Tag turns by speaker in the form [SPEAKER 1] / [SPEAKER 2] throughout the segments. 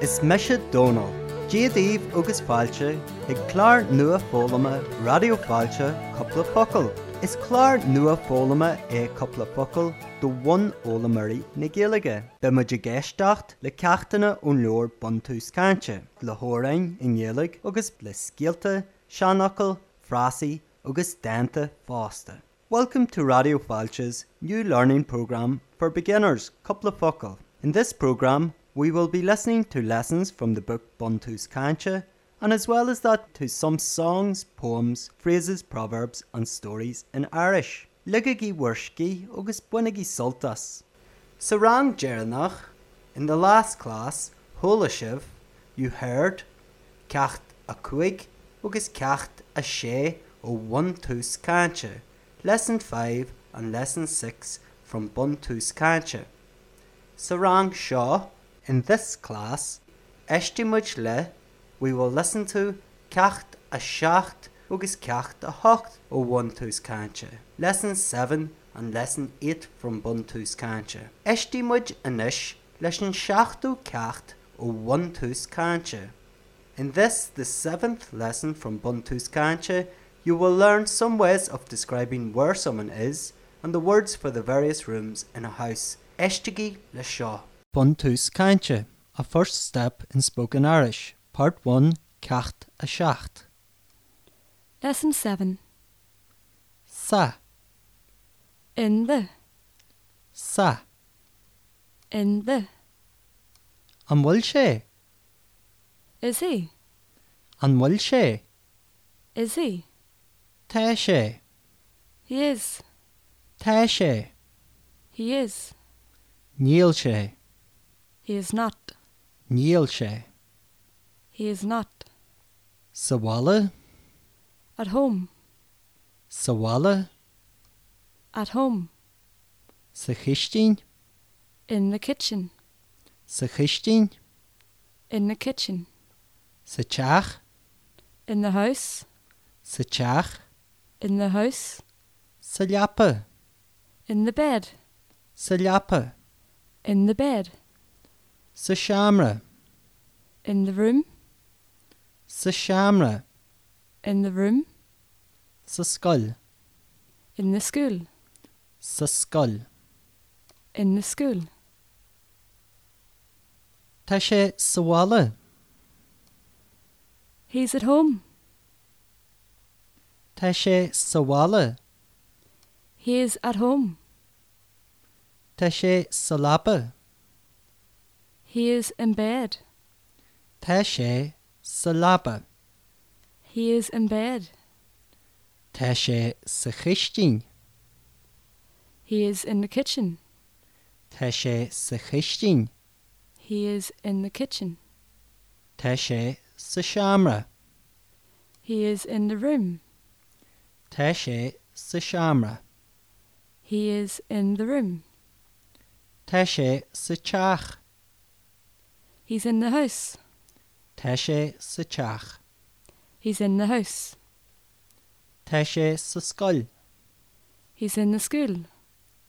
[SPEAKER 1] is meise dóná. Géadíomh agus fáilte ag chláir nua fólama radioáilte coppla focail. Is chláir nua eh, fólama é coppla focail do bhain ólamarí na ggéalaige, Be mu de ggéistecht le ceachtainna ón leor bonú scainte, le hárain in ggéalaigh agus le scialta, seanachil, frásaí agus daanta fásta. Welcome to Radio Falch's new learning program for beginners, Coupla Focal. In this program, we will be listening to lessons from the book Bantu's Kancha, and as well as that to some songs, poems, phrases, proverbs, and stories in Irish. Ligagi Wershki Ogus Bunigi Sultas. Sarang Jeranach, in the last class, Holashiv, you heard Kacht a Kuig, Ogus Kacht a She, O One Tus Kancha. Lesson 5 and Lesson 6 from Buntu's Kancha. Sarang Shaw, in this class, Eshtimuj le, we will listen to Cacht a Shacht Ugus Cacht a Hocht o Buntu's Kancha. Lesson 7 and Lesson 8 from Buntu's Kancha. Eshtimuj anish, Lesson Shachtu Cacht o Buntu's Kancha. In this, the seventh lesson from Buntu's Kancha, You will learn some ways of describing where someone is and the words for the various rooms in a house. Eshtigi le Shaw. Buntus Kainche, a first step in spoken Irish. Part 1, Cacht a Shacht.
[SPEAKER 2] Lesson 7.
[SPEAKER 1] Sa,
[SPEAKER 2] In the.
[SPEAKER 1] sa,
[SPEAKER 2] In the.
[SPEAKER 1] an bhfuil sé,
[SPEAKER 2] Is he?
[SPEAKER 1] an bhfuil sé,
[SPEAKER 2] Is he?
[SPEAKER 1] te sé,
[SPEAKER 2] He is.
[SPEAKER 1] te sé,
[SPEAKER 2] He is.
[SPEAKER 1] níl sé,
[SPEAKER 2] He is not.
[SPEAKER 1] níl sé,
[SPEAKER 2] He is not.
[SPEAKER 1] sawala,
[SPEAKER 2] At home.
[SPEAKER 1] sawala,
[SPEAKER 2] At home.
[SPEAKER 1] sa chistín,
[SPEAKER 2] In the kitchen.
[SPEAKER 1] sa chistín,
[SPEAKER 2] In the kitchen.
[SPEAKER 1] sa teach,
[SPEAKER 2] In the house.
[SPEAKER 1] sa teach,
[SPEAKER 2] In the house.
[SPEAKER 1] sa leapa,
[SPEAKER 2] In the bed.
[SPEAKER 1] sa leapa.
[SPEAKER 2] In the bed.
[SPEAKER 1] Sa seaamra,
[SPEAKER 2] In the room.
[SPEAKER 1] sa seaamra,
[SPEAKER 2] In the room.
[SPEAKER 1] sa scoil,
[SPEAKER 2] In the school.
[SPEAKER 1] sa scoil.
[SPEAKER 2] In the school.
[SPEAKER 1] Tá sé sahála,
[SPEAKER 2] He's at home.
[SPEAKER 1] Tá sé sahála,
[SPEAKER 2] He is at home.
[SPEAKER 1] Tá sé salapa,
[SPEAKER 2] He is in bed.
[SPEAKER 1] Tá sé salapa,
[SPEAKER 2] He is in bed.
[SPEAKER 1] Tá sé sa chistín,
[SPEAKER 2] He is in the kitchen.
[SPEAKER 1] Tá sé sa chistín,
[SPEAKER 2] He is in the kitchen.
[SPEAKER 1] Tá sé sa seaamra,
[SPEAKER 2] He is in the room.
[SPEAKER 1] Tá sé sa seaamra,
[SPEAKER 2] He is in the room.
[SPEAKER 1] Tá sé sa teach,
[SPEAKER 2] He's in the house.
[SPEAKER 1] Tá sé sa teach,
[SPEAKER 2] He's in the house.
[SPEAKER 1] Tá sé sa scoil,
[SPEAKER 2] He's in the school.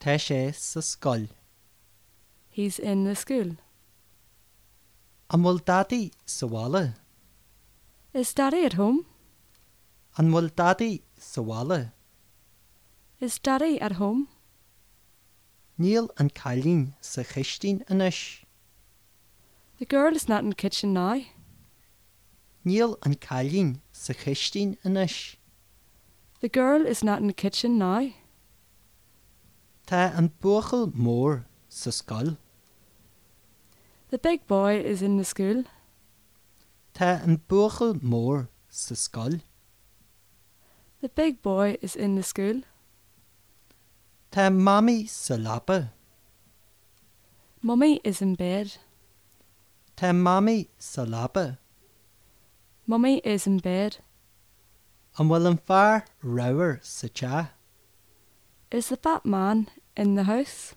[SPEAKER 1] Tá sé sa scoil.
[SPEAKER 2] He's in the school.
[SPEAKER 1] An bhfuil dadaí sahála.
[SPEAKER 2] Is Daddy at home?
[SPEAKER 1] An bhfuil dadaí sahála,
[SPEAKER 2] Is Daddy at home?
[SPEAKER 1] níl an cailín sa chistín inis,
[SPEAKER 2] The girl is not in the kitchen now.
[SPEAKER 1] níl an cailín sa chistín inis,
[SPEAKER 2] The girl is not in the kitchen now.
[SPEAKER 1] Tá an buchail mór sa scoil,
[SPEAKER 2] The big boy is in the school.
[SPEAKER 1] Tá an buchail mór sa scoil,
[SPEAKER 2] The big boy is in the school.
[SPEAKER 1] Tá mami sa lapa,
[SPEAKER 2] Mummy is in bed.
[SPEAKER 1] Tá mami sa lapa,
[SPEAKER 2] Mummy is in bed.
[SPEAKER 1] an bhfuil an fear rahar sa te,
[SPEAKER 2] Is the fat man in the house?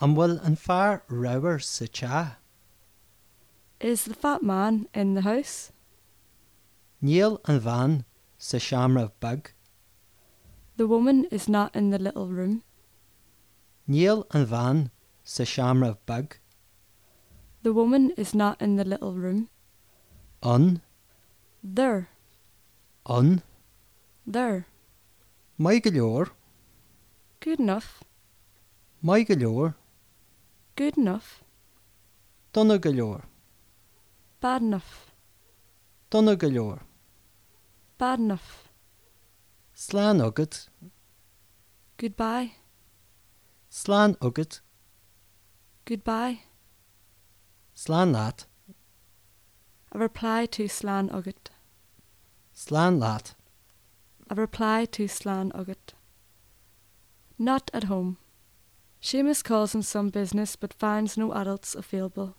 [SPEAKER 1] an bhfuil an fear rahar sa te,
[SPEAKER 2] Is the fat man in the house?
[SPEAKER 1] níl an bhain sa seaamrah bag,
[SPEAKER 2] The woman is not in the little room.
[SPEAKER 1] níl an bhain sa seaamrah bag,
[SPEAKER 2] The woman is not in the little room.
[SPEAKER 1] an,
[SPEAKER 2] There,
[SPEAKER 1] an,
[SPEAKER 2] there.
[SPEAKER 1] mai go leor,
[SPEAKER 2] Good enough,
[SPEAKER 1] mai go leor,
[SPEAKER 2] good enough,
[SPEAKER 1] donna go leor,
[SPEAKER 2] bad enough,
[SPEAKER 1] donna go leor,
[SPEAKER 2] bad enough.
[SPEAKER 1] slán agad,
[SPEAKER 2] Goodbye,
[SPEAKER 1] slán agad,
[SPEAKER 2] goodbye.
[SPEAKER 1] slán láat,
[SPEAKER 2] A reply to slan agat.
[SPEAKER 1] slán láat,
[SPEAKER 2] A reply to slan agat. Not at home. Seamus calls in some business but finds no adults available.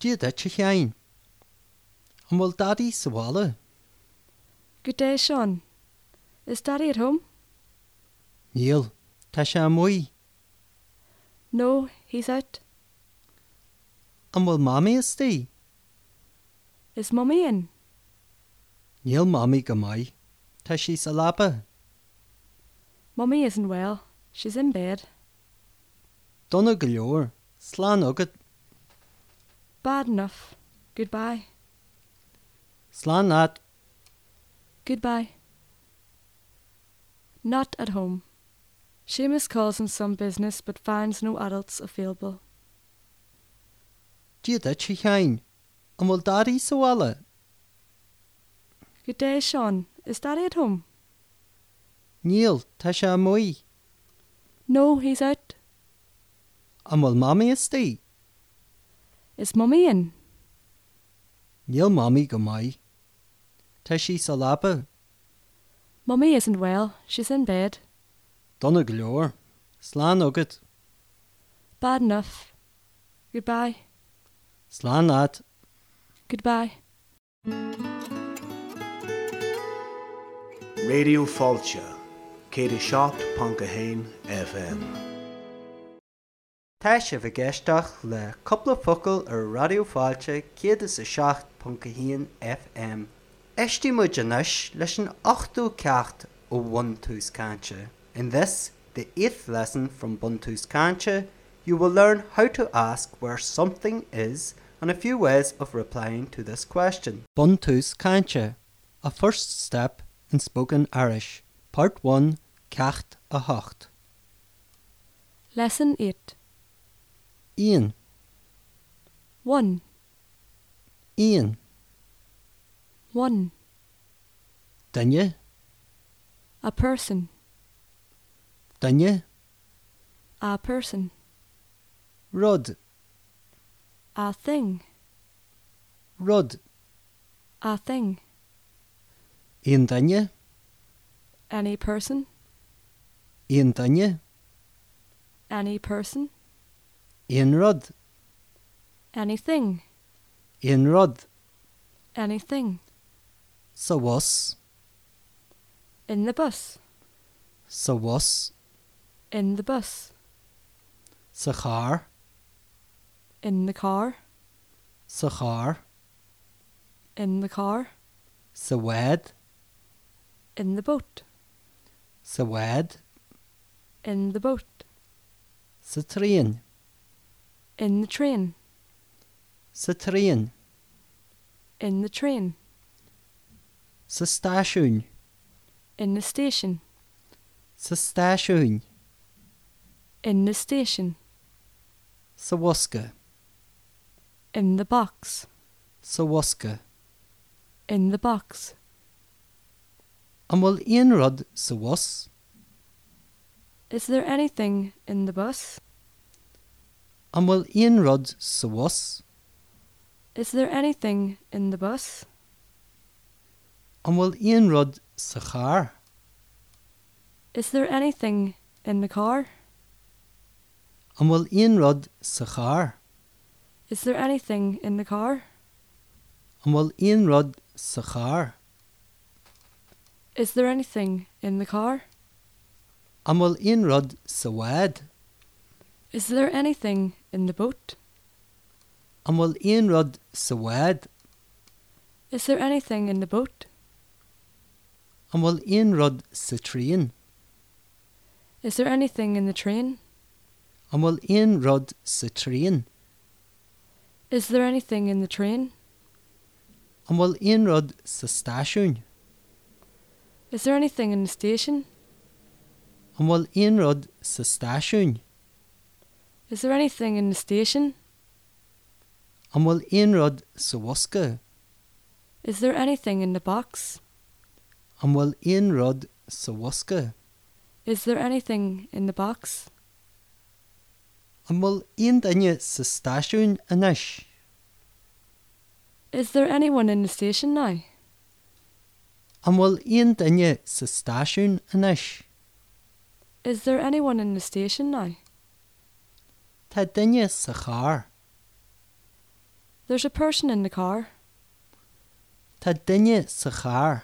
[SPEAKER 1] díad é cheáin. An bhfuil dadí sa bhála,
[SPEAKER 2] Good day, Sean. Is Daddy at home?
[SPEAKER 1] níl, Tá sé an muoi,
[SPEAKER 2] No, he's out.
[SPEAKER 1] an bhfuil mamí is tí,
[SPEAKER 2] Is Mummy in?
[SPEAKER 1] níl mamí go maiid, Tá sí sa lápa,
[SPEAKER 2] Mummy isn't well. She's in bed.
[SPEAKER 1] donna go leor, slán agad,
[SPEAKER 2] Bad enough. Goodbye.
[SPEAKER 1] slán láat,
[SPEAKER 2] Goodbye. Not at home. Seamus calls in some business but finds no adults available.
[SPEAKER 1] díad é cheáin, an bhfuil dadí sa bhála,
[SPEAKER 2] Good day, Sean. Is Daddy at home?
[SPEAKER 1] níl, Tá sé an muoi,
[SPEAKER 2] No, he's out.
[SPEAKER 1] an bhfuil mamí is tí,
[SPEAKER 2] Is Mummy in?
[SPEAKER 1] níl mamí go maiid, Tá sí sa lápa,
[SPEAKER 2] Mummy isn't well. She's in bed.
[SPEAKER 1] donna go leor, slán agad,
[SPEAKER 2] Bad enough. Goodbye.
[SPEAKER 1] slán láat,
[SPEAKER 2] Goodbye.
[SPEAKER 3] Radio Fáilte, cé i seacht Pcahéin FM.
[SPEAKER 1] Tá sé bh geisteach le coppla focail ar radioáilte céad is sa seach Pcahéon FM. Etí mu denis leis an 8ú cecht ó bhaús cáinte. In this, the eighth lesson from Buntu's Kancha, you will learn how to ask where something is and a few ways of replying to this question. Buntu's Kancha, a first step in spoken Irish, part 1, Cacht a Hocht.
[SPEAKER 2] Lesson 8.
[SPEAKER 1] Ian,
[SPEAKER 2] 1.
[SPEAKER 1] Ian,
[SPEAKER 2] 1.
[SPEAKER 1] dunne,
[SPEAKER 2] A person.
[SPEAKER 1] dunne,
[SPEAKER 2] A person.
[SPEAKER 1] rud.
[SPEAKER 2] A thing.
[SPEAKER 1] Rod,
[SPEAKER 2] A thing.
[SPEAKER 1] éon danne,
[SPEAKER 2] Any person.
[SPEAKER 1] éon danne,
[SPEAKER 2] Any person.
[SPEAKER 1] éon rod,
[SPEAKER 2] Anything.
[SPEAKER 1] éon rod,
[SPEAKER 2] Anything.
[SPEAKER 1] sa was,
[SPEAKER 2] In the bus.
[SPEAKER 1] sa was,
[SPEAKER 2] In the bus.
[SPEAKER 1] sa char,
[SPEAKER 2] In the car.
[SPEAKER 1] sa char,
[SPEAKER 2] In the car.
[SPEAKER 1] sa wed,
[SPEAKER 2] In the boat.
[SPEAKER 1] sa wed,
[SPEAKER 2] In the boat.
[SPEAKER 1] sa trían,
[SPEAKER 2] In the train.
[SPEAKER 1] sa trían,
[SPEAKER 2] In the train.
[SPEAKER 1] sa stáisiún,
[SPEAKER 2] In the station.
[SPEAKER 1] sa stáisiún,
[SPEAKER 2] In the station.
[SPEAKER 1] sa wasca,
[SPEAKER 2] In the box.
[SPEAKER 1] sa wasca.
[SPEAKER 2] In the box.
[SPEAKER 1] An bhfuil éon rod sa was,
[SPEAKER 2] Is there anything in the bus?
[SPEAKER 1] an bhfuil éon rod sa was,
[SPEAKER 2] Is there anything in the bus?
[SPEAKER 1] an bhfuil éon rod sa char,
[SPEAKER 2] Is there anything in the car?
[SPEAKER 1] an bhfuil éon rod sa char,
[SPEAKER 2] Is there anything in the car?
[SPEAKER 1] an bhfuil éon rod sa char.
[SPEAKER 2] Is there anything in the car?
[SPEAKER 1] An bhfuil on rud sa bhd,
[SPEAKER 2] Is there anything in the boat?
[SPEAKER 1] an bhfuil on rud sa bhd,
[SPEAKER 2] Is there anything in the boat?
[SPEAKER 1] an bhfuil on rud sa tríon,
[SPEAKER 2] Is there anything in the train?
[SPEAKER 1] an bhfuil on rud sa tríon,
[SPEAKER 2] Is there anything in the train?
[SPEAKER 1] an bhfuil aon rud sa stáisiún,
[SPEAKER 2] Is there anything in the station?
[SPEAKER 1] an bhfuil aon rud sa stáisiún,
[SPEAKER 2] Is there anything in the station?
[SPEAKER 1] an bhfuil aon rud sa bhosca,
[SPEAKER 2] Is there anything in the box?
[SPEAKER 1] an bhfuil aon rud sa bhosca,
[SPEAKER 2] Is there anything in the box?
[SPEAKER 1] an bhfuil aon daine sa stáisiún inis,
[SPEAKER 2] Is there anyone in the station now?
[SPEAKER 1] an bhfuil aon daine sa stáisiún inis,
[SPEAKER 2] Is there anyone in the station now?
[SPEAKER 1] Tá daine sa chár,
[SPEAKER 2] There's a person in the car.
[SPEAKER 1] Tá daine sa chár,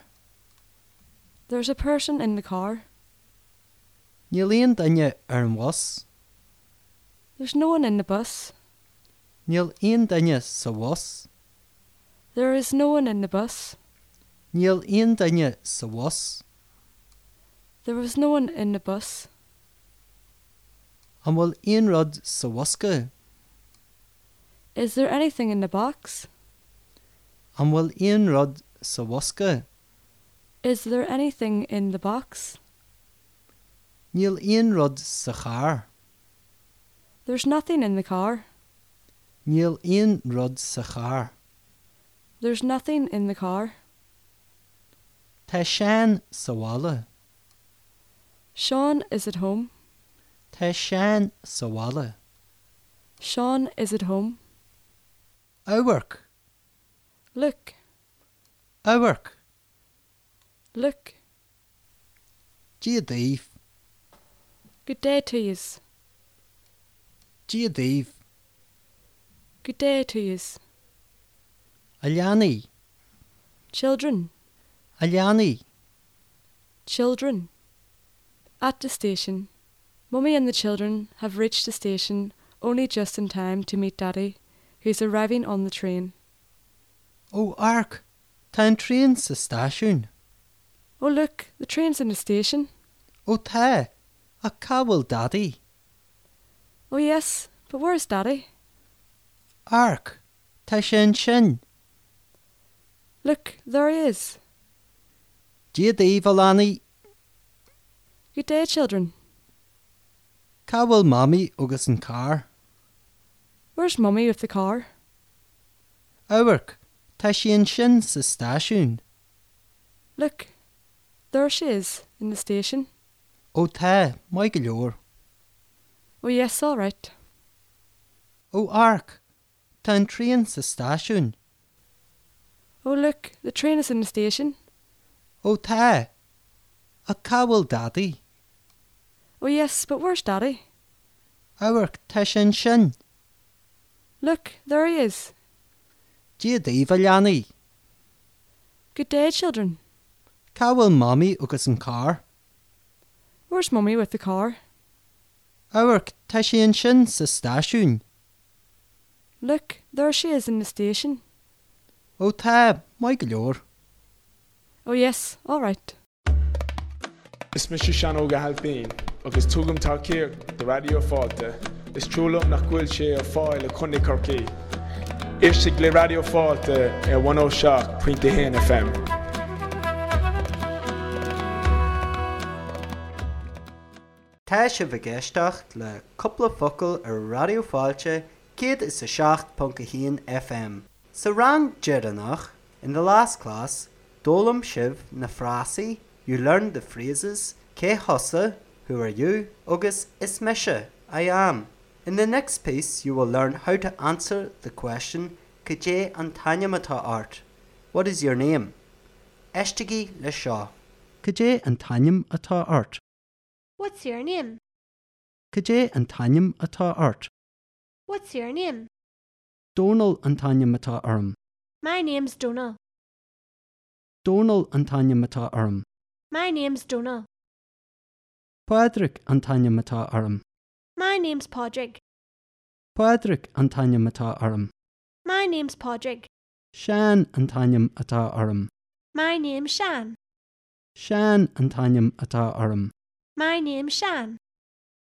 [SPEAKER 2] There's a person in the car.
[SPEAKER 1] Ní líon daine ar an was,
[SPEAKER 2] There's no one in the bus.
[SPEAKER 1] Níl aon daine sa was,
[SPEAKER 2] There is no one in the bus.
[SPEAKER 1] Níl aon daine sa was,
[SPEAKER 2] There was no one in the bus.
[SPEAKER 1] an bhfuil aon rud sa wasca,
[SPEAKER 2] Is there anything in the box?
[SPEAKER 1] an bhfuil aon rud sa wasca,
[SPEAKER 2] Is there anything in the box?
[SPEAKER 1] Níl aon rud sa chár,
[SPEAKER 2] There's nothing in the car.
[SPEAKER 1] Níl aon rud sa chár.
[SPEAKER 2] There's nothing in the car.
[SPEAKER 1] Tá sean sahála,
[SPEAKER 2] Sean is at home.
[SPEAKER 1] Tá sean sahála.
[SPEAKER 2] Sean is at home.
[SPEAKER 1] Áhharc,
[SPEAKER 2] Look,
[SPEAKER 1] áhharc,
[SPEAKER 2] look.
[SPEAKER 1] díadíh,
[SPEAKER 2] Good day to yous.
[SPEAKER 1] díadíh,
[SPEAKER 2] Good day to yous.
[SPEAKER 1] a leanaí,
[SPEAKER 2] Children,
[SPEAKER 1] a leanaí,
[SPEAKER 2] children. At the station. Mummy and the children have reached the station only just in time to meet Daddy, who's arriving on the train.
[SPEAKER 1] ó arc, Tá an tríon sa stáisiún,
[SPEAKER 2] Oh, look, the train's in the station.
[SPEAKER 1] ó tá a cabhfuil dadaí,
[SPEAKER 2] Oh, yes, but where's Daddy?
[SPEAKER 1] arc, Tá sé an sin,
[SPEAKER 2] Look, there he is.
[SPEAKER 1] díadíh a leanaí,
[SPEAKER 2] Good day, children.
[SPEAKER 1] cabhfuil mamí agus an cá,
[SPEAKER 2] Where's Mummy with the car?
[SPEAKER 1] áhharc, Tá sé an sin sa stáisiún,
[SPEAKER 2] Look, there she is in the station.
[SPEAKER 1] ó tá mai go leor,
[SPEAKER 2] Oh, yes, all right.
[SPEAKER 1] ó arc, Tá an tríon sa stáisiún.
[SPEAKER 2] Oh, look, the train is in the station.
[SPEAKER 1] ó tá a cabhfuil dadaí
[SPEAKER 2] Oh, yes, but where's Daddy?
[SPEAKER 1] áhar te sin sin
[SPEAKER 2] Look, there he is.
[SPEAKER 1] diadaíh a leanaí
[SPEAKER 2] Good day, children.
[SPEAKER 1] cabhfuil mamí agus an cá
[SPEAKER 2] Where's Mummy with the car?
[SPEAKER 1] áhar te sé an sin sa stáisiún
[SPEAKER 2] Look, there she is in the station.
[SPEAKER 1] ó tá mai go leor
[SPEAKER 2] Oh, yes, all right.
[SPEAKER 4] Is mis sean óga helpéin, agus tugamtá céir do radio fáte, Is trúlam nach ghfuil sé ar fáil le chunig carcé. Istigh le radio fáte ar 106 pointinte oh hen FM.
[SPEAKER 1] Tá se bhgéisteach le coppla focail ar radioáilte céad is sa 6.1 FM. Sa rang jeannach in the last class, dólam sibh na frásaí you learn the phrases cé hosa, who are you, agus is meise, I am. In the next piece you will learn how to answer the question cé an tainematá art. What is your name? Eistigí le seo. Cé an tainem atá art.
[SPEAKER 5] What's your name?
[SPEAKER 1] Cadé an tainem atá art,
[SPEAKER 5] What's your name?
[SPEAKER 1] Donal an tainem atá arm,
[SPEAKER 5] My name's Donna.
[SPEAKER 1] Donal an tainem atá arm,
[SPEAKER 5] My name's Donna.
[SPEAKER 1] Pádraic an tainem atá arm,
[SPEAKER 5] My name's Padraig.
[SPEAKER 1] Pádraic an tainem atá arm,
[SPEAKER 5] My name's Padraig.
[SPEAKER 1] Sean an tainem atá arm,
[SPEAKER 5] My name's Shan.
[SPEAKER 1] Sean an tainem atá arm,
[SPEAKER 5] My name's Shan.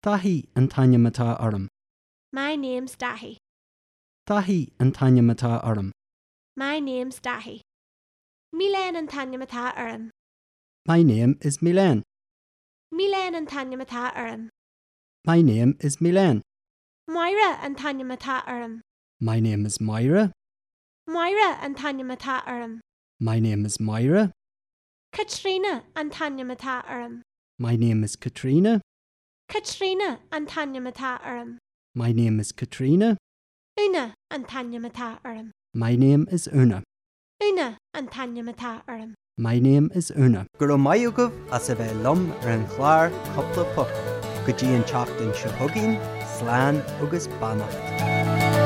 [SPEAKER 1] Tahí an tainem atá arm,
[SPEAKER 5] My name's Dahi.
[SPEAKER 1] Tahí an taine matá orm.
[SPEAKER 5] My name's Dahi. Milan and Tanya Mata Urim.
[SPEAKER 1] My name is Milan.
[SPEAKER 5] Milan and Tanya Mata Urim.
[SPEAKER 1] My name is Milan.
[SPEAKER 5] Moira and Tanya Mata Urim.
[SPEAKER 1] My name is Myra.
[SPEAKER 5] Moira and Tanya Mata Urim.
[SPEAKER 1] My name is Myra.
[SPEAKER 5] Katrina and Tanya Mata Urim.
[SPEAKER 1] My name is Katrina.
[SPEAKER 5] Katrina and Tanya Mata Urim.
[SPEAKER 1] My name is Katrina.
[SPEAKER 5] Una and Tanya Mata Urim.
[SPEAKER 1] My name is Una.
[SPEAKER 5] Una and Tanya Mata Urim.
[SPEAKER 1] My name is Una. Gur ó maiú goh a sa bheith lom ar an chláir coppla pu, go dtí an teachtain sethuginn, sláán agus bannacht.